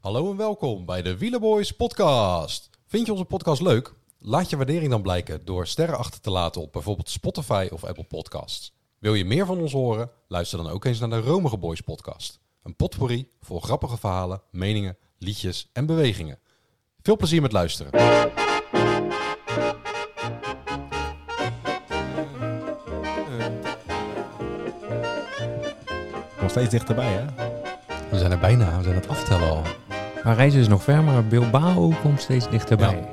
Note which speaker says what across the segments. Speaker 1: Hallo en welkom bij de Wielerboys podcast. Vind je onze podcast leuk? Laat je waardering dan blijken door sterren achter te laten op bijvoorbeeld Spotify of Apple Podcasts. Wil je meer van ons horen? Luister dan ook eens naar de Romige Boys podcast. Een potpourri vol grappige verhalen, meningen, liedjes en bewegingen. Veel plezier met luisteren.
Speaker 2: Nog steeds dichterbij, hè?
Speaker 1: We zijn er bijna, we zijn het aftellen al.
Speaker 3: Parijs is nog ver, maar Bilbao komt steeds dichterbij.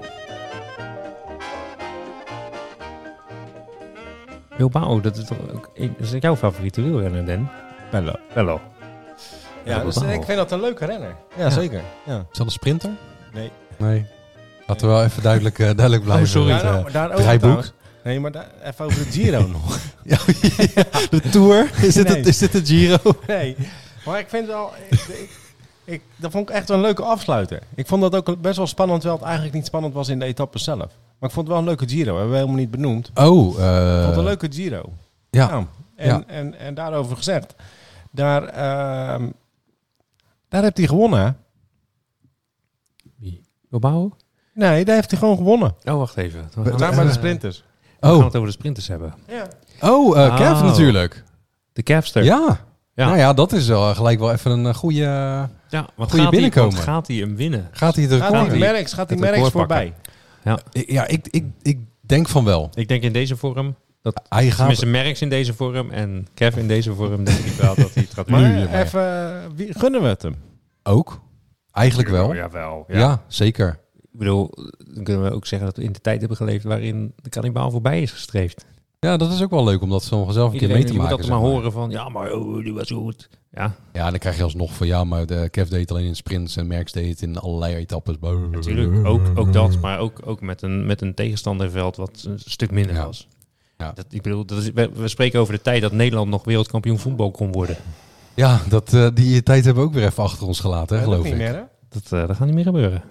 Speaker 3: Bilbao, dat is toch ook een- dat is jouw favoriete wielrenner, Den?
Speaker 2: Bello.
Speaker 3: Bello.
Speaker 2: Ja,
Speaker 3: Ja,
Speaker 2: dus
Speaker 3: Bilbao.
Speaker 2: ik vind dat een leuke renner. Ja, zeker. Ja.
Speaker 1: Is dat een sprinter?
Speaker 2: Nee.
Speaker 1: Nee. Laten we wel even duidelijk, eh, duidelijk blijven.
Speaker 2: Ja,
Speaker 1: met, eh,
Speaker 2: nou, daarover
Speaker 1: draaiboek.
Speaker 2: trouwens. Nee, maar daar, even over de Giro nog.
Speaker 1: de Tour? Is dit,
Speaker 2: Nee.
Speaker 1: het, is dit de Giro?
Speaker 2: Nee. Maar ik vind het al... Ik, ik- ik- dat vond ik echt wel een leuke afsluiter. Ik vond dat ook best wel spannend, terwijl het eigenlijk niet spannend was in de etappe zelf. Maar ik vond het wel een leuke Giro. Hebben we helemaal niet benoemd. Ik
Speaker 1: Oh,
Speaker 2: vond het
Speaker 1: eh
Speaker 2: een leuke Giro.
Speaker 1: ja.
Speaker 2: Nou, en,
Speaker 1: Ja.
Speaker 2: en, en daarover gezegd. Daar, ehm, daar heeft hij gewonnen, hè?
Speaker 3: Bilbao?
Speaker 2: Nee, daar heeft hij gewoon gewonnen.
Speaker 3: Oh, wacht even. We
Speaker 1: Daar
Speaker 2: Daar
Speaker 3: gaan,
Speaker 2: bij de
Speaker 3: eh,
Speaker 2: sprinters.
Speaker 3: we gaan
Speaker 1: Oh,
Speaker 3: het over de sprinters hebben.
Speaker 2: Ja.
Speaker 1: oh eh, Kev
Speaker 3: Oh.
Speaker 1: natuurlijk.
Speaker 3: De Cavster.
Speaker 1: Ja.
Speaker 3: Ja.
Speaker 1: Nou ja, dat is wel gelijk wel even een eh, goede... eh,
Speaker 3: Ja, want
Speaker 1: Goeie
Speaker 3: gaat hij-
Speaker 1: binnenkomen.
Speaker 3: want gaat hij hem winnen?
Speaker 1: Gaat hij het record
Speaker 2: Gaat die
Speaker 3: hij-
Speaker 1: in?
Speaker 2: merks, gaat die
Speaker 3: het
Speaker 2: merks
Speaker 3: record
Speaker 2: voorbij?
Speaker 1: Ik- Ja, ik, ik, ik denk van wel.
Speaker 3: Ik denk in deze vorm,
Speaker 1: Hij gaat...
Speaker 3: tenminste Merckx in deze vorm en Kev in deze vorm, denk ik wel dat hij het gaat
Speaker 2: Maar
Speaker 3: winnen.
Speaker 2: even, eh, wie, gunnen we het hem?
Speaker 1: Ook. Eigenlijk wel. Oh, Ja,
Speaker 3: Jawel.
Speaker 1: zeker.
Speaker 3: Ik bedoel, dan kunnen we ook zeggen dat we in de tijd hebben geleefd waarin de kannibaal voorbij is gestreefd.
Speaker 1: Ja, dat is ook wel leuk om dat zo zelf een keer
Speaker 3: Iedereen
Speaker 1: mee te
Speaker 3: die moet
Speaker 1: maken.
Speaker 3: altijd
Speaker 1: zeg
Speaker 3: maar horen van, ja, maar oh, die was goed. Ja,
Speaker 1: Ja, dan krijg je alsnog van ja, maar de Kev deed het alleen in sprints en Merckx deed het in allerlei etappes.
Speaker 3: natuurlijk. Ook, ook dat, maar ook, ook met, een, met een tegenstanderveld wat een stuk minder
Speaker 1: Ja.
Speaker 3: was.
Speaker 1: Ja.
Speaker 3: Dat, ik bedoel, dat is, we, we spreken over de tijd dat Nederland nog wereldkampioen voetbal kon worden.
Speaker 1: Ja, dat, eh, die tijd hebben we ook weer even achter ons gelaten, hè,
Speaker 2: Eh, Dat
Speaker 1: geloof
Speaker 2: niet
Speaker 1: ik.
Speaker 2: meer, hè?
Speaker 3: Dat, eh, dat gaat niet meer gebeuren.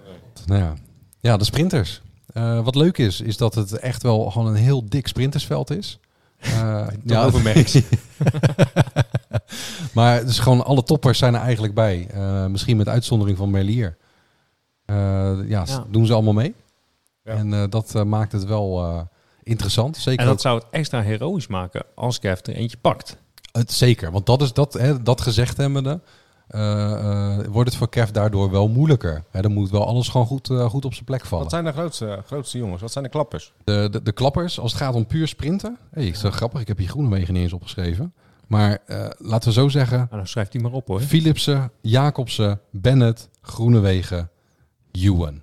Speaker 1: Nou ja. ja, de sprinters. Eh, wat leuk is, is dat het echt wel gewoon een heel dik sprintersveld is. Eh
Speaker 3: Toch over Merckx.
Speaker 1: maar dus gewoon alle toppers zijn er eigenlijk bij. Eh, misschien met uitzondering van Merlier. Eh, ja, s-
Speaker 3: Ja.
Speaker 1: doen ze allemaal mee.
Speaker 2: Ja.
Speaker 1: En eh, dat eh, maakt het wel eh, interessant. Zeker,
Speaker 3: En dat zou het extra heroïs maken als Kev er eentje pakt.
Speaker 1: ook- het, zeker, want dat is dat, hè, dat gezegd hebbende... eh, eh, wordt het voor Kev daardoor wel moeilijker. Hè, dan moet wel alles gewoon goed, eh, goed op zijn plek vallen.
Speaker 2: Wat zijn de grootste, grootste jongens? Wat zijn de klappers?
Speaker 1: De, de, de klappers, als het gaat om puur sprinten. Hey, is wel grappig, ik heb hier Groenewegen niet eens opgeschreven. Maar eh, laten we zo zeggen:
Speaker 3: Nou, dan schrijft hij maar op hoor.
Speaker 1: Philipsen, Jacobsen, Bennett, Groenewegen, Ewan.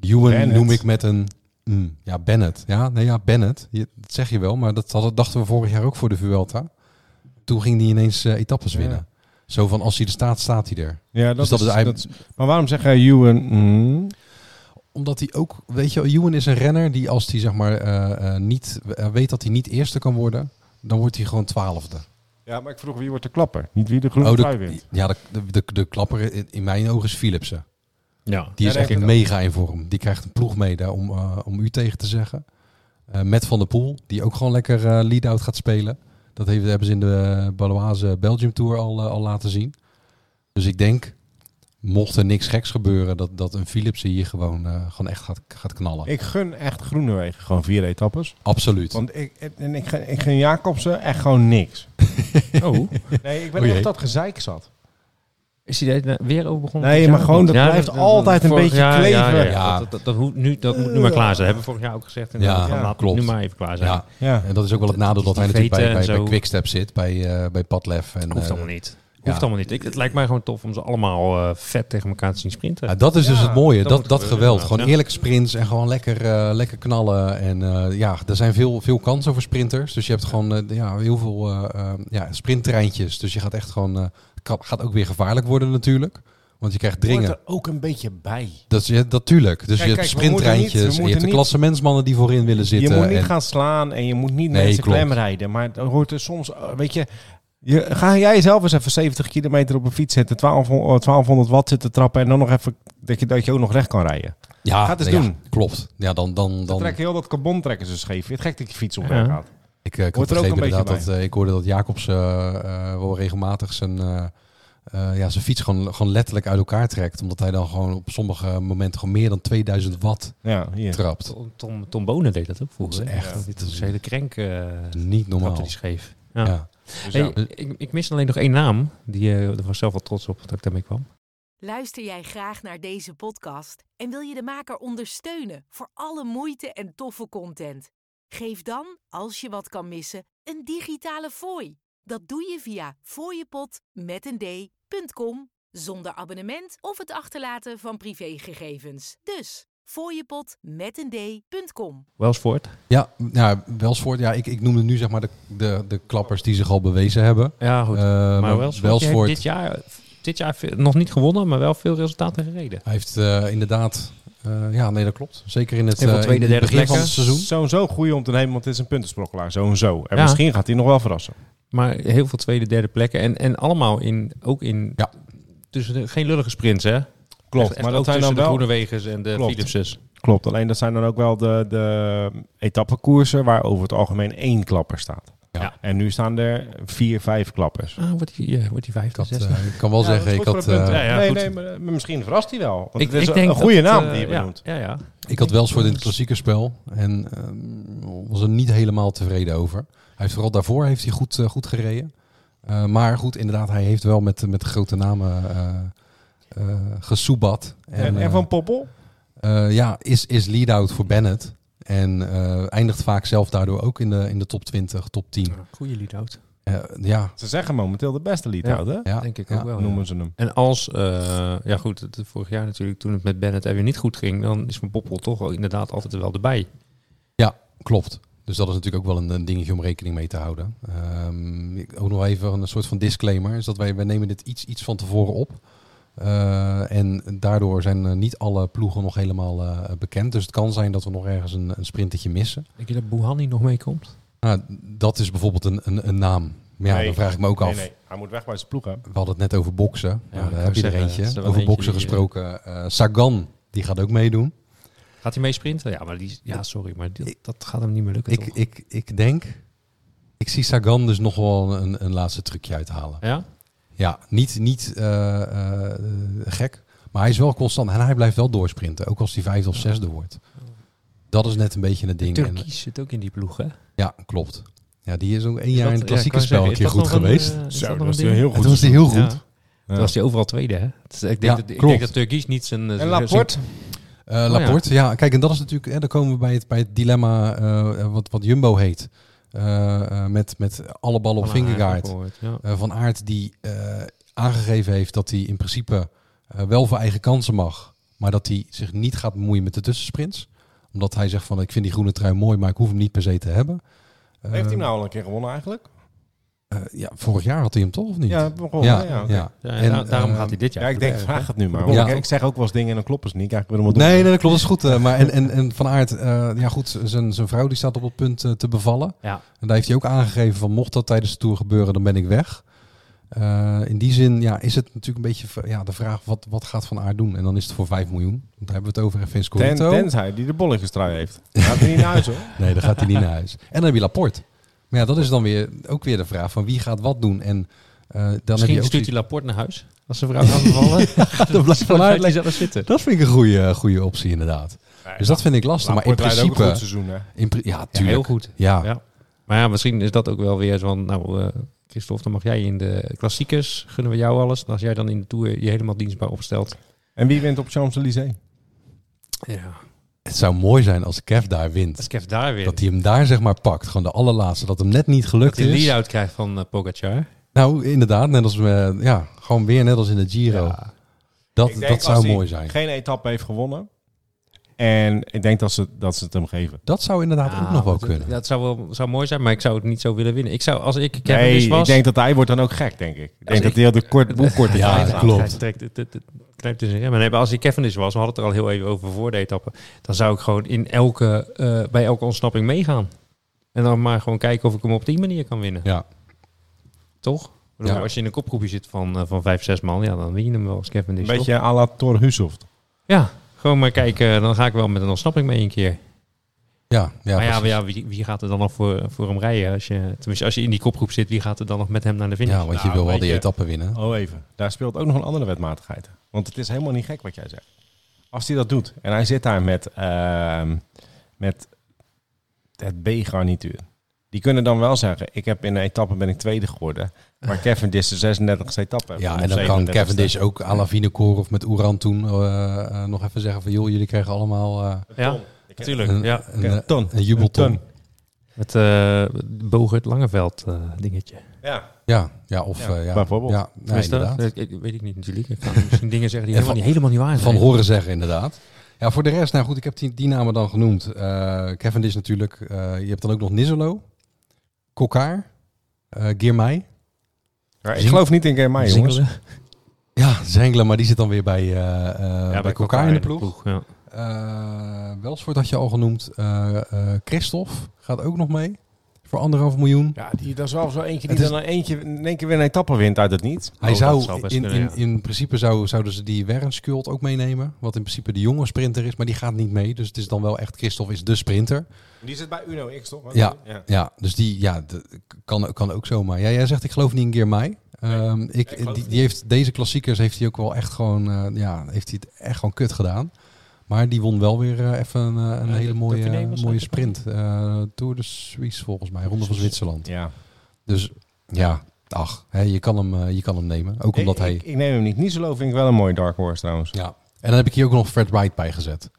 Speaker 1: Ewan
Speaker 2: Bennett.
Speaker 1: noem ik met een. mm, ja, Bennett. Ja, nee, ja, Bennett. Je- dat zeg je wel, maar dat hadden, dachten we vorig jaar ook voor de Vuelta. Toen ging hij ineens eh, etappes
Speaker 2: Ja.
Speaker 1: winnen. Zo van als hij er staat, staat hij er.
Speaker 2: Ja, dat,
Speaker 1: Dus dat
Speaker 2: is,
Speaker 1: is eigenlijk-
Speaker 2: dat is- Maar waarom zeggen Ewan... mm,
Speaker 1: Omdat hij ook, weet je, wel, Ewan is een renner die als hij zeg maar eh, eh, niet eh, weet dat hij niet eerste kan worden, dan wordt hij gewoon twaalfde. Oh,
Speaker 2: ja, maar ik vroeg wie wordt de klapper? Niet wie de groene
Speaker 1: de-
Speaker 2: trui wint.
Speaker 1: ja, de, de, de, de klapper in, in mijn ogen is Philipsen.
Speaker 3: Ja,
Speaker 1: Die is
Speaker 2: daar
Speaker 1: echt
Speaker 2: heeft het
Speaker 1: mega in vorm. Die krijgt een ploeg mee daar om, eh, om u tegen te zeggen. Eh, met Van der Poel, die ook gewoon lekker eh, lead-out gaat spelen. Dat heeft, hebben ze in de Baloise Belgium Tour al, eh, al laten zien. Dus ik denk, mocht er niks geks gebeuren, dat, dat een Philipsen hier gewoon, eh, gewoon echt gaat, gaat knallen.
Speaker 2: Ik gun echt Groenewegen gewoon vier etappes.
Speaker 1: Absoluut.
Speaker 2: Want ik, en ik, gun- ik gun Jacobsen echt gewoon niks.
Speaker 3: Oh,
Speaker 2: Nee, ik
Speaker 1: ben
Speaker 2: ben
Speaker 1: echt
Speaker 2: echt dat gezeik zat.
Speaker 3: is hij daar weer over begonnen?
Speaker 2: Nee,
Speaker 3: dit
Speaker 2: maar
Speaker 3: jaar?
Speaker 2: gewoon, dat blijft altijd een
Speaker 3: vorig
Speaker 2: beetje
Speaker 3: jaar- Ja, ja,
Speaker 2: kleven.
Speaker 1: Ja.
Speaker 3: ja. Dat, dat, dat, moet nu, dat moet nu maar klaar zijn. Dat hebben we vorig jaar ook gezegd. En
Speaker 1: Ja,
Speaker 3: ja,
Speaker 2: ja,
Speaker 3: laat
Speaker 1: klopt.
Speaker 3: het nu maar even klaar zijn.
Speaker 1: Ja,
Speaker 2: Ja.
Speaker 1: en dat is ook wel het nadeel dat
Speaker 3: Die
Speaker 1: hij natuurlijk bij,
Speaker 3: veten en
Speaker 1: bij, bij
Speaker 3: zo.
Speaker 1: Quickstep zit, bij, eh bij Padlef. En,
Speaker 3: Hoeft
Speaker 1: eh,
Speaker 3: allemaal niet. Hoeft
Speaker 1: ja.
Speaker 3: allemaal niet. Ik, het lijkt mij gewoon tof om ze allemaal eh, vet tegen elkaar te zien sprinten.
Speaker 1: Ja, dat is dus
Speaker 2: Ja,
Speaker 1: het mooie,
Speaker 3: dat
Speaker 1: dat, dat,
Speaker 3: moet gebeuren,
Speaker 1: geweld.
Speaker 3: inderdaad,
Speaker 1: Gewoon
Speaker 3: ja.
Speaker 1: eerlijke sprints en gewoon lekker, eh, lekker knallen. En eh, ja, er zijn veel, veel kansen voor sprinters. Dus je hebt gewoon eh, ja, heel veel eh, eh, ja, sprinttreintjes. Dus je gaat echt gewoon, eh, kan- gaat ook weer gevaarlijk worden natuurlijk. Want je krijgt dringen.
Speaker 2: Hoort er ook een beetje bij.
Speaker 1: Dat, is- ja, natuurlijk. Dus
Speaker 2: eh, Kijk,
Speaker 1: je hebt
Speaker 2: kijk, we moeten niet- we
Speaker 1: sprinttreintjes. en Je
Speaker 2: moeten
Speaker 1: hebt de
Speaker 2: niet-
Speaker 1: klassementsmannen die voorin willen zitten.
Speaker 2: Je moet niet
Speaker 1: en-
Speaker 2: gaan slaan en je moet niet
Speaker 1: Nee,
Speaker 2: mensen
Speaker 1: klopt.
Speaker 2: klem rijden. Maar dan hoort er soms, eh, weet je, je, ga jij zelf eens even 70 kilometer op een fiets zitten, 1200, eh, 1200 watt zitten trappen en dan nog even dat je, dat je ook nog recht kan rijden.
Speaker 1: ja,
Speaker 2: Ga het eens
Speaker 1: nou ja,
Speaker 2: doen.
Speaker 1: klopt. Ja, dan... dan,
Speaker 2: Dan
Speaker 1: dan
Speaker 2: trek je heel dat carbon trekken ze scheef. Het gek dat je fiets op
Speaker 3: Ja.
Speaker 2: weg gaat.
Speaker 1: Ik, eh, ik had
Speaker 2: Hoort er ook
Speaker 1: begrepen
Speaker 2: een beetje
Speaker 1: inderdaad dat eh, ik hoorde dat Jacobs eh, eh, wel regelmatig zijn eh, eh, ja, zijn fiets gewoon, gewoon letterlijk uit elkaar trekt. Omdat hij dan gewoon op sommige momenten gewoon meer dan 2000 watt
Speaker 2: Ja, hier.
Speaker 1: trapt.
Speaker 3: Tom, Tom, Tom Bonen deed dat ook vroeger.
Speaker 1: Dat is
Speaker 3: hè?
Speaker 1: echt-
Speaker 3: Ja, Dit is een hele krenk. eh
Speaker 1: Niet
Speaker 3: trapte
Speaker 1: normaal.
Speaker 3: die scheef. Ja.
Speaker 1: Ja.
Speaker 2: Dus
Speaker 3: Hey,
Speaker 1: ja.
Speaker 3: ik, ik mis alleen nog één naam. Die eh daar was zelf wel trots op dat ik daarmee kwam.
Speaker 4: Luister jij graag naar deze podcast en wil je de maker ondersteunen voor alle moeite en toffe content? Geef dan, als je wat kan missen, een digitale fooi. Dat doe je via fooiepot.com zonder abonnement of het achterlaten van privégegevens. Dus fooiepot.com.
Speaker 3: Welsvoort.
Speaker 1: Ja, nou, Welsvoort, ja, ik, ik noemde nu zeg maar de, de, de klappers die zich al bewezen hebben.
Speaker 3: Ja, goed.
Speaker 1: Eh,
Speaker 3: maar Welsvoort,
Speaker 1: Welsvoort,
Speaker 3: Dit jaar, dit jaar veel- nog niet gewonnen, maar wel veel resultaten gereden.
Speaker 1: hij heeft eh, inderdaad, eh, ja, nee, dat klopt. Zeker in het,
Speaker 3: Heel veel
Speaker 1: eh, in
Speaker 3: tweede,
Speaker 1: het
Speaker 3: derde
Speaker 1: begin van het
Speaker 3: plekken.
Speaker 1: seizoen.
Speaker 2: eh, Sowieso goeie om te nemen, want het is een puntensprokkelaar. Zo en zo. En
Speaker 3: Ja.
Speaker 2: misschien gaat hij nog wel verrassen.
Speaker 3: Maar heel veel tweede, derde plekken. En, en allemaal in, ook in...
Speaker 1: Ja.
Speaker 3: Tussen de- geen lullige sprints, hè?
Speaker 2: Klopt,
Speaker 3: Echt- echt
Speaker 2: maar
Speaker 3: ook
Speaker 2: dat zijn
Speaker 3: tussen
Speaker 2: dan
Speaker 3: de
Speaker 2: wel...
Speaker 3: Groenewegens en de
Speaker 2: Klopt.
Speaker 3: Philips's.
Speaker 2: Klopt, alleen dat zijn dan ook wel de, de etappekoersen waar over het algemeen één klapper staat.
Speaker 1: Ja.
Speaker 2: En nu staan er vier, vijf klappers.
Speaker 3: Ah, wordt die, eh, wordt die
Speaker 1: Ik,
Speaker 3: vijfde,
Speaker 1: had,
Speaker 3: zesde?
Speaker 1: eh, ik kan wel zeggen, ik had, eh,
Speaker 3: Ja, ja,
Speaker 2: nee,
Speaker 3: goed.
Speaker 2: nee, maar, eh, misschien verrast hij wel. Want
Speaker 3: Ik-
Speaker 2: het is
Speaker 3: ik
Speaker 2: een
Speaker 3: denk
Speaker 2: goede
Speaker 3: dat,
Speaker 2: naam
Speaker 3: eh,
Speaker 2: die je
Speaker 3: ja,
Speaker 2: benoemt.
Speaker 3: Ja, ja.
Speaker 1: ik had Welsvoort
Speaker 2: dus-
Speaker 1: in het klassieke spel en eh, was er niet helemaal tevreden over. Hij heeft vooral daarvoor heeft hij goed, eh, goed gereden. Eh, maar goed, inderdaad, hij heeft wel met, met grote namen eh eh, gesoebat.
Speaker 2: En, en
Speaker 1: eh,
Speaker 2: van Poppel?
Speaker 1: Eh, ja, is, is lead-out voor Bennett. En eh, eindigt vaak zelf daardoor ook in de, in de top 20, top 10.
Speaker 3: Goeie lead-out.
Speaker 1: Eh, ja,
Speaker 2: Ze zeggen momenteel de beste lied
Speaker 3: Ja.
Speaker 2: hè?
Speaker 1: ja, Oh,
Speaker 3: Denk ik
Speaker 1: ja.
Speaker 3: ook wel, ja.
Speaker 2: Noemen ze hem.
Speaker 3: En als, eh, ja goed, het, vorig jaar natuurlijk, toen het met Bennett er weer niet goed ging, dan is Van Poppel toch wel inderdaad altijd er wel erbij.
Speaker 1: Klopt. Dus dat is natuurlijk ook wel een, een dingetje om rekening mee te houden. Ehm, ik- ook nog even een soort van disclaimer. Is dat wij, wij nemen dit iets, iets van tevoren op. Eh, en daardoor zijn eh, niet alle ploegen nog helemaal eh, bekend. Dus het kan zijn dat we nog ergens een, een sprintetje missen.
Speaker 3: Denk je dat Bouhanni nog meekomt?
Speaker 1: Nou, dat is bijvoorbeeld een, een, een naam. Maar ja,
Speaker 2: Nee.
Speaker 1: dan vraag ik me ook af.
Speaker 2: Nee, nee, hij moet weg bij zijn ploeg, hè?
Speaker 1: We hadden het net over boksen.
Speaker 3: Ja,
Speaker 1: nou, daar
Speaker 3: ik wou
Speaker 1: heb je er
Speaker 3: zeggen,
Speaker 1: eentje.
Speaker 3: dat is er wel
Speaker 1: over
Speaker 3: eentje
Speaker 1: boksen
Speaker 3: die, eh,
Speaker 1: gesproken. eh, Sagan, die gaat ook meedoen.
Speaker 3: Gaat hij mee sprinten? Ja, maar die, ja sorry, maar die-
Speaker 1: Ik-
Speaker 3: dat gaat hem niet meer lukken.
Speaker 1: Ik,
Speaker 3: toch?
Speaker 1: ik, ik denk... Ik zie Sagan dus nog wel een, een laatste trucje uithalen.
Speaker 3: ja?
Speaker 1: Ja, niet, niet eh, eh, eh, gek. Maar hij is wel constant. En hij blijft wel doorsprinten. Ook als hij vijfde of zesde wordt. Dat is net een beetje het ding. En-
Speaker 3: Turkies zit ook in die ploeg, hè?
Speaker 1: ja, klopt. Ja, die is ook één
Speaker 3: Is
Speaker 1: jaar
Speaker 3: dat-
Speaker 1: in het klassieke
Speaker 3: ja, ik
Speaker 1: spel
Speaker 3: wou
Speaker 1: een keer
Speaker 3: zeggen,
Speaker 1: goed
Speaker 3: is dat nog een,
Speaker 1: geweest.
Speaker 3: eh, is
Speaker 2: Zo,
Speaker 3: dat
Speaker 2: dat
Speaker 3: nog
Speaker 2: is
Speaker 3: een ding?
Speaker 2: heel
Speaker 1: En
Speaker 2: goed.
Speaker 1: toen was hij heel goed.
Speaker 3: Ja. Toen
Speaker 2: Ja.
Speaker 3: was hij overal tweede, hè? Dus ik denk,
Speaker 1: Ja,
Speaker 3: dat, ik
Speaker 1: klopt.
Speaker 3: denk dat Turkies niet zijn... eh,
Speaker 2: En
Speaker 3: zijn-
Speaker 2: Laporte?
Speaker 1: Eh,
Speaker 3: Oh,
Speaker 1: Laporte, ja. Kijk, en dat is natuurlijk, hè, dan komen we bij het, bij het dilemma eh, eh, wat, wat Jumbo heet. Eh, eh, met, met alle ballen op
Speaker 3: Van Aert
Speaker 1: Vingegaard.
Speaker 3: bijvoorbeeld, Ja.
Speaker 1: Eh, van Aert die eh, aangegeven heeft dat hij in principe eh, wel voor eigen kansen mag. Maar dat hij zich niet gaat bemoeien met de tussensprints. Omdat hij zegt van ik vind die groene trui mooi, maar ik hoef hem niet per se te hebben. Eh,
Speaker 2: Heeft hij hem nou al een keer gewonnen eigenlijk?
Speaker 1: eh, ja, vorig jaar had hij hem toch of niet?
Speaker 2: Ja, begon.
Speaker 1: ja,
Speaker 2: Ja, ja.
Speaker 1: ja.
Speaker 3: Ja,
Speaker 1: En,
Speaker 3: da- daarom
Speaker 1: eh,
Speaker 3: gaat hij dit jaar.
Speaker 2: Ja, ik denk,
Speaker 3: Ja.
Speaker 2: vraag het nu maar.
Speaker 1: Ja.
Speaker 2: want Ik, ik zeg ook wel eens dingen en dan kloppen ze niet. Kijk, ik wil hem wel doen.
Speaker 1: Nee, nee, dat klopt. Dat is goed. eh, maar en, en, en Van Aert, eh, ja goed, zijn, zijn vrouw die staat op het punt eh, te bevallen.
Speaker 3: Ja.
Speaker 1: En daar heeft hij ook aangegeven van mocht dat tijdens de Tour gebeuren, dan ben ik weg. Eh, in die zin ja, is het natuurlijk een beetje v- ja, de vraag wat, wat gaat Van Aert doen? En dan is het voor 5 miljoen. Want daar hebben we het over. En Vince
Speaker 2: Ten,
Speaker 1: Corito.
Speaker 2: tenzij die de bolletjestrui heeft. Gaat hij niet naar huis hoor.
Speaker 1: Nee, dan gaat hij niet naar huis. En dan heb je Laporte. Maar ja, dat is dan weer, ook weer de vraag van wie gaat wat doen. En eh, dan heb je
Speaker 3: Misschien
Speaker 1: ook
Speaker 3: stuurt
Speaker 1: die-
Speaker 3: hij Laporte naar huis. Als zijn vrouw gaat bevallen.
Speaker 1: dat blijft Van Aert
Speaker 3: lekker zelf zitten.
Speaker 1: Dat vind ik een goede, goede optie inderdaad. Dus dat vind ik lastig. Maar in
Speaker 2: Laporte rijdt ook een goed
Speaker 1: principe...
Speaker 2: seizoen, hè?
Speaker 1: In, pri- ja,
Speaker 3: Ja, heel
Speaker 1: tuurlijk.
Speaker 3: goed.
Speaker 1: Ja,
Speaker 3: Ja. Maar ja, misschien is dat ook wel weer zo'n... Nou, eh Christophe, dan mag jij in de klassiekers. Gunnen we jou alles. En als jij dan in de Tour je helemaal dienstbaar opstelt.
Speaker 2: En wie wint op Champs-Élysées?
Speaker 3: Ja.
Speaker 1: het zou mooi zijn als Kev daar wint.
Speaker 3: Als Kev daar weer...
Speaker 1: Dat hij hem daar zeg maar pakt. Gewoon de allerlaatste. Dat hem net niet gelukt
Speaker 3: dat hij een
Speaker 1: is.
Speaker 3: lead-out krijgt van eh, Pogacar.
Speaker 1: Nou, inderdaad. Net als we, ja, gewoon weer net als in de Giro.
Speaker 3: Ja.
Speaker 1: Dat,
Speaker 2: Ik denk
Speaker 1: dat
Speaker 2: als
Speaker 1: zou
Speaker 2: hij
Speaker 1: mooi zijn.
Speaker 2: geen etappe heeft gewonnen. En ik denk dat ze, dat ze het hem geven.
Speaker 1: Dat zou inderdaad ook nog wel
Speaker 3: dat-
Speaker 1: kunnen.
Speaker 3: Dat zou wel zou mooi zijn, maar ik zou het niet zo willen winnen. Ik zou, als ik Kevin
Speaker 2: Nee,
Speaker 3: Nis
Speaker 2: ik
Speaker 3: was...
Speaker 2: denk dat hij wordt dan ook gek, denk ik. Ik denk
Speaker 3: ik-
Speaker 2: dat hij heel de kort, boek kort
Speaker 1: Ja,
Speaker 2: heeft.
Speaker 1: dat Ah, klopt.
Speaker 3: Hij trekt het, het, het knijpt in zijn remmen. Nee, maar als ik Kevin is was, we hadden het er al heel even over voor de etappe. Dan zou ik gewoon in elke, eh, bij elke ontsnapping meegaan. En dan maar gewoon kijken of ik hem op die manier kan winnen.
Speaker 1: Ja.
Speaker 3: Toch? Ik bedoel,
Speaker 1: Ja.
Speaker 3: Als je in een kopgroepje zit van, eh, van vijf, zes man, ja, dan win je hem wel als Kevin
Speaker 2: Een
Speaker 3: is. toch?
Speaker 2: beetje à la Thor Husoft.
Speaker 3: Ja, gewoon maar kijken. Dan ga ik wel met een ontsnapping mee een keer.
Speaker 1: Ja, ja,
Speaker 3: maar ja, maar
Speaker 1: precies.
Speaker 3: ja wie, wie gaat er dan nog voor, voor hem rijden? Als je, tenminste, als je in die kopgroep zit, wie gaat er dan nog met hem naar de finish?
Speaker 1: ja, want je
Speaker 2: Nou,
Speaker 1: wil wel
Speaker 2: weet
Speaker 1: die
Speaker 2: je-
Speaker 1: etappe winnen.
Speaker 2: Oh, even. Daar speelt ook nog een andere wetmatigheid. Want het is helemaal niet gek wat jij zegt. Als hij dat doet en hij zit daar met, ehm, met het B-garnituur. Die kunnen dan wel zeggen, ik heb in een etappe ben ik tweede geworden. Maar Cavendish de 36 etappe. heeft
Speaker 1: Ja,
Speaker 2: of
Speaker 1: en dan kan
Speaker 2: 37ste.
Speaker 1: Cavendish ook à la Vinecore of met Oeran toen eh, eh, nog even zeggen van... joh, jullie krijgen allemaal eh,
Speaker 3: Ja,
Speaker 1: een,
Speaker 3: natuurlijk. Ja,
Speaker 1: een,
Speaker 2: Een
Speaker 1: eh,
Speaker 2: ton.
Speaker 1: een jubelton.
Speaker 2: Een ton.
Speaker 3: met eh Bogert Langeveld eh, dingetje.
Speaker 2: Ja.
Speaker 1: Ja, ja, of...
Speaker 2: Ja,
Speaker 1: eh, ja.
Speaker 2: bijvoorbeeld.
Speaker 1: Ja, ja,
Speaker 3: Tenminste,
Speaker 1: inderdaad.
Speaker 3: dat- ik- weet ik niet natuurlijk. Ik kan misschien dingen zeggen die
Speaker 1: En
Speaker 3: helemaal, niet, helemaal niet waar zijn.
Speaker 1: Van horen zeggen, inderdaad. Ja, voor de rest, nou goed, ik heb die, die namen dan genoemd. Eh Kevin is natuurlijk. eh, je hebt dan ook nog Nisselo, Kokkaar, eh Girmay.
Speaker 2: Ja, ik geloof niet in Germain,
Speaker 3: Zingelen.
Speaker 2: jongens.
Speaker 1: Ja, Zengelen, maar die zit dan weer bij, eh eh, bij,
Speaker 3: bij
Speaker 1: Kokkaar in de ploeg.
Speaker 3: ja.
Speaker 1: Eh Welsvoort had je al genoemd. eh eh, Christophe gaat ook nog mee voor anderhalf miljoen.
Speaker 2: Ja, die, dat is wel zo eentje
Speaker 1: Het
Speaker 2: die
Speaker 1: is-
Speaker 2: dan eentje, in één keer weer een etappe wint uit het niets.
Speaker 1: Hij
Speaker 3: Oh, dat zou
Speaker 1: zou,
Speaker 3: best
Speaker 1: in,
Speaker 3: kunnen,
Speaker 1: in,
Speaker 3: ja.
Speaker 1: in principe zou, zouden ze die Wernskjold ook meenemen. Wat in principe de jonge sprinter is, maar die gaat niet mee. Dus het is dan wel echt, Christophe is de sprinter.
Speaker 2: Die zit bij Uno X, toch?
Speaker 1: Ja. Ja, dus die ja, de- kan, kan ook zomaar. Ja, jij zegt ik geloof niet in Girmay. Ehm ik,
Speaker 2: geloof
Speaker 1: die,
Speaker 2: het
Speaker 1: die heeft, deze klassiekers heeft hij ook wel echt gewoon, eh, ja, heeft hij het echt gewoon kut gedaan. Maar die won wel weer eh, even een, eh, een
Speaker 3: Ja,
Speaker 1: hele
Speaker 3: de- de
Speaker 1: mooie,
Speaker 3: Dauphiné was
Speaker 1: mooie
Speaker 3: dat.
Speaker 1: sprint. Eh, Tour de Suisse volgens mij, Ronde van Zwitserland.
Speaker 2: ja.
Speaker 1: Dus ja, ach, hè, je, kan hem, eh, je kan hem nemen. Ook omdat
Speaker 2: ik,
Speaker 1: hij...
Speaker 2: ik, ik neem hem niet. Nieseloo vind ik wel een mooie dark horse trouwens.
Speaker 1: Ja. En dan heb ik hier ook nog Fred Wright bij gezet.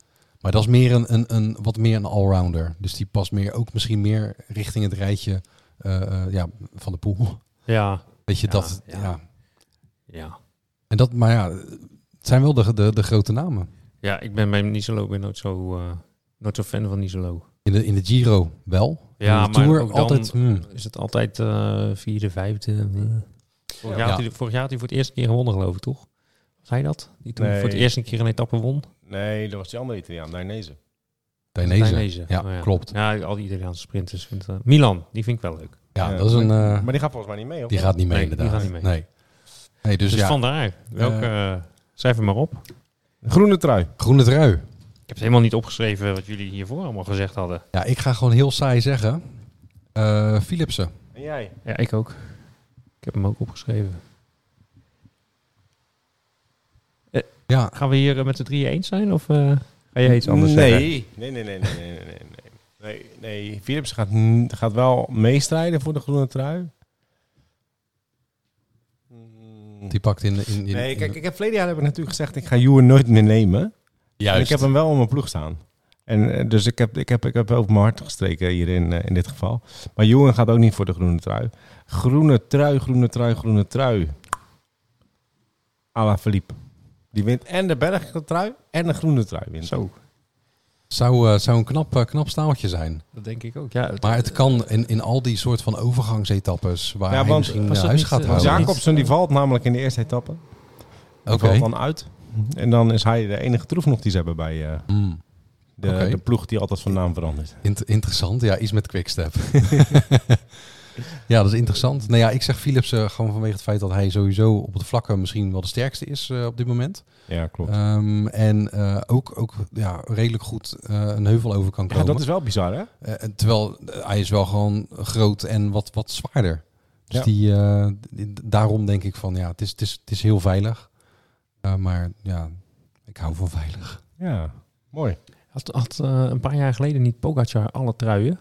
Speaker 1: Maar dat is meer een, een, een wat meer een allrounder. Dus die past meer, ook misschien meer richting het rijtje eh, eh, ja, van de poel.
Speaker 3: Ja,
Speaker 1: Weet je,
Speaker 3: Ja,
Speaker 1: dat... Ja.
Speaker 3: ja. ja.
Speaker 1: En dat, maar ja, het zijn wel de, de, de grote namen.
Speaker 3: Ja, ik ben bij Niselo ik ben nooit zo, eh, nooit zo fan van Niselo.
Speaker 1: In de, in de Giro wel.
Speaker 3: Ja,
Speaker 1: in de
Speaker 3: maar
Speaker 1: Tour
Speaker 3: ook dan-
Speaker 1: altijd... hmm.
Speaker 3: Is het altijd eh, vierde, vijfde? eh. Vorig, jaar
Speaker 1: Ja.
Speaker 3: had hij, vorig jaar had hij voor het eerste keer gewonnen, geloof ik, toch? Was hij dat? Die toen
Speaker 2: Nee.
Speaker 3: voor het eerste keer een etappe won?
Speaker 2: Nee, dat was die andere Italiaan, Dainese.
Speaker 1: Dainese.
Speaker 3: Dainese.
Speaker 1: Ja,
Speaker 3: Oh ja.
Speaker 1: klopt. Ja,
Speaker 3: Ja, al die Italiaanse sprinters. Vindt, eh, Milan, die vind ik wel leuk.
Speaker 1: dat is een... eh,
Speaker 2: Maar die gaat volgens mij niet mee, hoor.
Speaker 1: die gaat niet mee,
Speaker 3: Nee, die
Speaker 1: inderdaad.
Speaker 3: gaat niet mee.
Speaker 1: Nee. Nee, dus,
Speaker 3: Dus,
Speaker 1: ja,
Speaker 3: vandaar. Welke, eh, schrijf hem maar op.
Speaker 2: Groene trui.
Speaker 1: groene trui.
Speaker 3: Ik heb het helemaal niet opgeschreven wat jullie hiervoor allemaal gezegd hadden.
Speaker 1: Ja, ik ga gewoon heel saai zeggen. Eh, Philipsen.
Speaker 2: En jij?
Speaker 3: Ja, ik ook. Ik heb hem ook opgeschreven.
Speaker 1: Ja,
Speaker 3: Gaan we hier eh, met de drieën eens zijn? Of eh, ga jij iets anders
Speaker 2: nee.
Speaker 3: zeggen?
Speaker 2: Nee, nee, nee, nee, nee, nee, nee. nee. Nee, nee, Philips gaat, n- gaat wel meestrijden voor de groene trui. Mm.
Speaker 1: die pakt in... in, in
Speaker 2: Nee,
Speaker 1: in-
Speaker 2: kijk, ik heb verleden jaar heb ik natuurlijk gezegd, ik ga Juwen nooit meer nemen. En
Speaker 1: Juist.
Speaker 2: ik heb hem wel op mijn ploeg staan. En, eh, dus ik heb, ik, heb, ik heb over mijn hart gestreken hierin eh, in dit geval. Maar Juwen gaat ook niet voor de groene trui. Groene trui, groene trui, groene trui. Ala Philippe. Die wint en de bergtrui en de groene trui wint.
Speaker 3: Zo,
Speaker 1: Zou, eh, zou een knap, eh, knap staaltje zijn.
Speaker 3: dat denk ik ook. Ja, het-
Speaker 1: Maar het kan in, in al die soort van overgangsetappes waar
Speaker 2: Ja,
Speaker 1: hij
Speaker 2: want
Speaker 1: misschien
Speaker 3: was
Speaker 1: eh,
Speaker 3: dat
Speaker 1: huis
Speaker 3: niet,
Speaker 1: gaat
Speaker 3: eh,
Speaker 1: houden.
Speaker 3: Jacob?
Speaker 2: Jacobsen die valt namelijk in de eerste etappe. Die
Speaker 1: Oké.
Speaker 2: valt dan uit. En dan is hij de enige troef nog die ze hebben bij eh,
Speaker 1: Hmm,
Speaker 2: de,
Speaker 1: Oké.
Speaker 2: de ploeg die altijd van naam verandert.
Speaker 1: int- interessant. Ja, iets met quickstep. ja, dat is interessant. Nou ja, ik zeg Philips eh, gewoon vanwege het feit dat hij sowieso op het vlakke misschien wel de sterkste is eh, op dit moment.
Speaker 2: Ja, klopt.
Speaker 1: Ehm, en eh, ook, ook ja, redelijk goed eh, een heuvel over kan
Speaker 2: ja,
Speaker 1: komen.
Speaker 2: dat is wel bizar, hè?
Speaker 1: Eh, en terwijl eh, hij is wel gewoon groot en wat, wat zwaarder. Dus
Speaker 2: Ja.
Speaker 1: die, eh, die- daarom denk ik van ja, het is, het is, het is heel veilig. Eh, maar ja, ik hou van veilig.
Speaker 2: Ja, mooi.
Speaker 3: had, had eh, een paar jaar geleden niet Pogacar alle truien?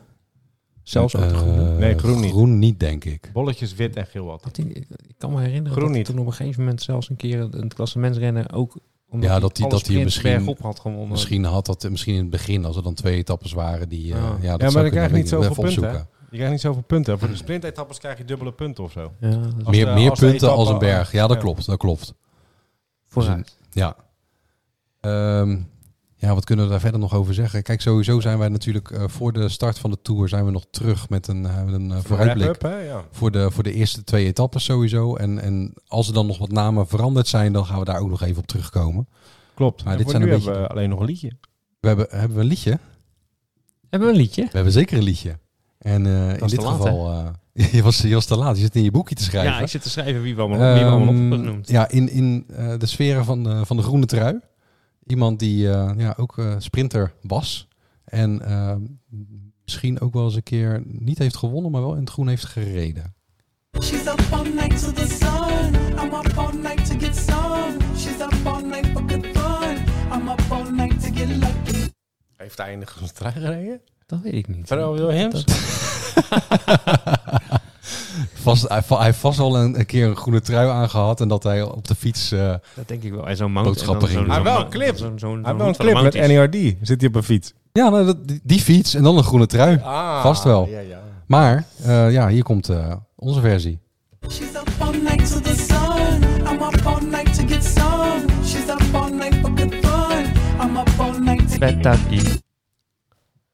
Speaker 3: Zelfs ook de
Speaker 1: Eh,
Speaker 3: groene?
Speaker 2: Nee, groen niet.
Speaker 1: Groen niet, denk ik.
Speaker 2: Bolletjes wit en geel wat.
Speaker 3: Had hij- ik ik kan me herinneren
Speaker 2: Groen
Speaker 3: dat hij
Speaker 2: niet.
Speaker 3: toen op een gegeven moment zelfs een keer een, een klassementsrennen ook omdat
Speaker 1: Ja, dat hij-
Speaker 3: alle
Speaker 1: dat hij
Speaker 3: sprints
Speaker 1: misschien-
Speaker 3: bergop had gewonnen.
Speaker 2: eh,
Speaker 1: Misschien had dat misschien in het begin, als er dan twee etappes waren, die. eh,
Speaker 3: Ja.
Speaker 1: ja, dat
Speaker 2: maar
Speaker 1: zou
Speaker 2: dan krijg je
Speaker 1: kunnen.
Speaker 2: niet zoveel
Speaker 1: Even
Speaker 2: punten,
Speaker 1: opzoeken.
Speaker 2: Je krijgt niet zoveel punten. Voor de sprintetappes krijg je dubbele punten of zo.
Speaker 3: Ja, dat is
Speaker 2: Als
Speaker 1: Meer,
Speaker 2: de-
Speaker 1: meer
Speaker 2: als de
Speaker 1: punten
Speaker 2: etappe-
Speaker 1: als een berg. Ja, dat
Speaker 2: Ja.
Speaker 1: klopt. Dat klopt.
Speaker 3: vooruit.
Speaker 1: Ja. Ehm, ja, wat kunnen we daar verder nog over zeggen? Kijk, sowieso zijn wij natuurlijk eh, voor de start van de tour zijn we nog terug met een, eh, met een eh, vooruitblik.
Speaker 2: Wrap-up, hè? Ja.
Speaker 1: Voor de, voor de eerste twee etappes sowieso. En, en als er dan nog wat namen veranderd zijn, dan gaan we daar ook nog even op terugkomen.
Speaker 2: Klopt.
Speaker 1: Maar
Speaker 2: En
Speaker 1: dit
Speaker 2: voor
Speaker 1: zijn
Speaker 2: nu
Speaker 1: een beetje-
Speaker 2: hebben we alleen nog een liedje.
Speaker 1: We hebben, hebben we een liedje?
Speaker 3: Hebben we een liedje?
Speaker 1: We hebben zeker een liedje. En eh, in
Speaker 3: was
Speaker 1: dit
Speaker 3: te laat,
Speaker 1: geval, eh, je, was, je was te laat. Je zit in je boekje te schrijven.
Speaker 3: Ja, ik zit te schrijven wie we allemaal, wie we allemaal op
Speaker 1: Ehm,
Speaker 3: hebben genoemd.
Speaker 1: Ja, in, in eh, de sferen van de, van de groene trui. Iemand die eh, ja, ook eh, sprinter was. En eh, misschien ook wel eens een keer niet heeft gewonnen, maar wel in het groen heeft gereden.
Speaker 5: She's up all night to the sun. I'm up all night to get some. She's up all night for good fun. I'm up all night to get lucky.
Speaker 2: Heeft hij in de groene trui gereden?
Speaker 3: Dat weet ik niet.
Speaker 2: Pharrell Williams?
Speaker 1: Vast, hij, va- hij heeft vast al een, een keer een groene trui aangehad en dat hij op de fiets... eh,
Speaker 3: Dat denk ik wel. En zo'n mount.
Speaker 1: Boodschappen
Speaker 3: en dan
Speaker 1: ging.
Speaker 2: Hij
Speaker 3: zo'n- zo'n
Speaker 2: wel
Speaker 3: ma-
Speaker 2: een clip.
Speaker 3: zo'n- zo'n-
Speaker 2: Hij heeft wel
Speaker 3: zo'n
Speaker 2: een clip
Speaker 3: mount
Speaker 2: met
Speaker 3: is.
Speaker 2: NERD. Zit hij op een fiets?
Speaker 1: ja, nou, dat- die, die fiets en dan een groene trui. Ah, Vast wel.
Speaker 2: Ja, ja.
Speaker 1: Maar eh, ja, hier komt eh, onze versie.
Speaker 5: She's up all night to the sun. I'm up all night to get some. She's up all night for good fun. I'm up all night to get
Speaker 3: Petaki.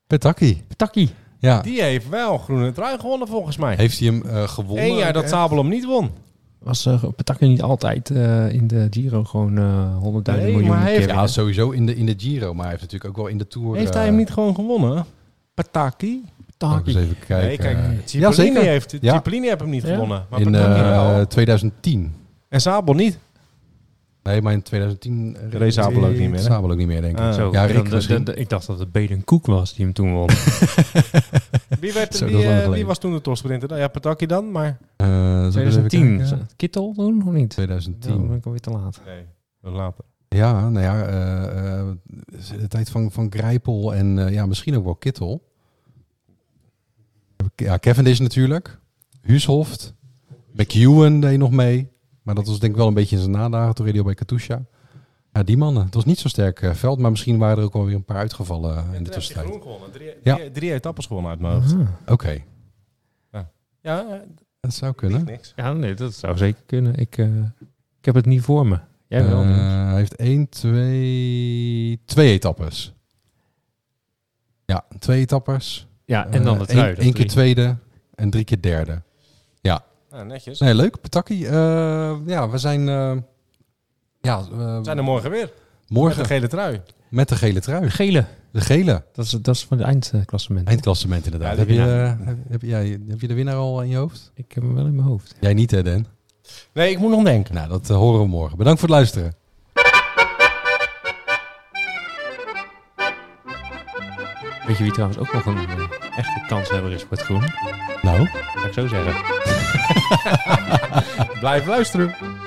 Speaker 1: Petaki.
Speaker 3: Petaki.
Speaker 1: Ja,
Speaker 2: Die heeft wel groene trui gewonnen volgens mij.
Speaker 1: heeft hij hem eh, gewonnen?
Speaker 2: Eén jaar dat Sabelom niet won.
Speaker 3: Was eh, Petaki niet altijd eh, in de Giro gewoon eh 100.000
Speaker 2: Nee,
Speaker 3: miljoen
Speaker 2: maar hij
Speaker 3: keer
Speaker 2: heeft-
Speaker 1: Ja,
Speaker 3: winnen?
Speaker 1: sowieso in de, in de Giro, maar hij heeft natuurlijk ook wel in de Tour...
Speaker 2: Heeft hij
Speaker 1: eh,
Speaker 2: hem niet gewoon gewonnen? Pataki?
Speaker 1: ook eens
Speaker 3: Petaki.
Speaker 1: even kijken.
Speaker 2: Nee, kijk,
Speaker 1: ja,
Speaker 2: Cipollini eh,
Speaker 1: zeker.
Speaker 2: heeft,
Speaker 1: eh, Ja.
Speaker 2: Cipollini heeft hem niet
Speaker 3: Ja.
Speaker 2: gewonnen. Maar
Speaker 1: in
Speaker 2: Pataki
Speaker 1: eh,
Speaker 2: wel.
Speaker 1: 2010.
Speaker 2: En Sabel niet.
Speaker 1: Nee, maar in 2010... eh,
Speaker 2: Reed Zabel ook niet meer, hè?
Speaker 1: Zabel ook niet meer, denk ik.
Speaker 2: Ah.
Speaker 3: Zo,
Speaker 1: Ja, Rick
Speaker 3: dan- dan-
Speaker 1: misschien.
Speaker 3: dan- ik dacht dat het Bedenkoek was die hem toen won.
Speaker 2: Wie, werd,
Speaker 1: Zo,
Speaker 2: wie,
Speaker 1: dat is lang
Speaker 2: eh, wie
Speaker 1: geleden.
Speaker 2: was toen de topsprinter? dan? Ja, Pataki dan, maar...
Speaker 1: Eh, zal ik eens even
Speaker 3: 2010.
Speaker 1: kijken?
Speaker 3: Kittel toen of niet? Ja,
Speaker 1: 2010.
Speaker 3: Dan ben ik alweer te laat.
Speaker 2: Nee, later.
Speaker 1: Ja, nou ja, eh, eh, de tijd van, van Grijpel en eh, ja, misschien ook wel Kittel. Ja, Cavendish natuurlijk. Huushoft. McEwen deed nog mee. Maar dat was denk ik wel een beetje in zijn nadagen. Toen reed hij al bij Katusha. Ja, die mannen. Het was niet zo sterk eh, veld, maar misschien waren er ook wel weer een paar uitgevallen eh, in de tussentijd. Oké.
Speaker 2: gewonnen. Drie,
Speaker 1: Ja.
Speaker 2: drie, drie etappes gewonnen uit mijn hoofd.
Speaker 3: Ah.
Speaker 2: Ja, eh,
Speaker 1: Dat zou kunnen.
Speaker 2: niks.
Speaker 3: Ja, nee, dat zou zeker kunnen. Ik, eh, ik heb het niet voor me. Jij wel.
Speaker 1: Eh,
Speaker 3: Niels.
Speaker 1: hij heeft één, twee, twee etappes. Ja, twee etappes.
Speaker 3: ja, en dan de trui. dat
Speaker 1: Eén Eh, één keer
Speaker 3: drie.
Speaker 1: tweede en drie keer derde.
Speaker 2: Nou, netjes.
Speaker 1: Nee, leuk, Pataki. Eh, ja, we zijn, eh, ja, eh,
Speaker 2: We zijn er morgen weer. Met
Speaker 1: morgen
Speaker 2: een gele trui.
Speaker 1: met de gele trui.
Speaker 3: Gele,
Speaker 1: De gele,
Speaker 3: dat is, dat is van het eindklassement.
Speaker 1: eindklassement inderdaad.
Speaker 2: Ja, de
Speaker 1: heb, je,
Speaker 2: winnaar.
Speaker 1: eh, heb, heb jij, heb je de winnaar al in je hoofd?
Speaker 3: Ik heb hem wel in mijn hoofd.
Speaker 1: Jij niet, hè, Dan?
Speaker 2: Nee, ik moet nog denken.
Speaker 1: Nou, dat eh, horen we morgen. Bedankt voor het luisteren.
Speaker 3: Weet je wie trouwens ook nog een eh, echte kanshebber is voor het groen?
Speaker 1: Nou.
Speaker 3: Zou ik zo zeggen.
Speaker 2: Blijf luisteren.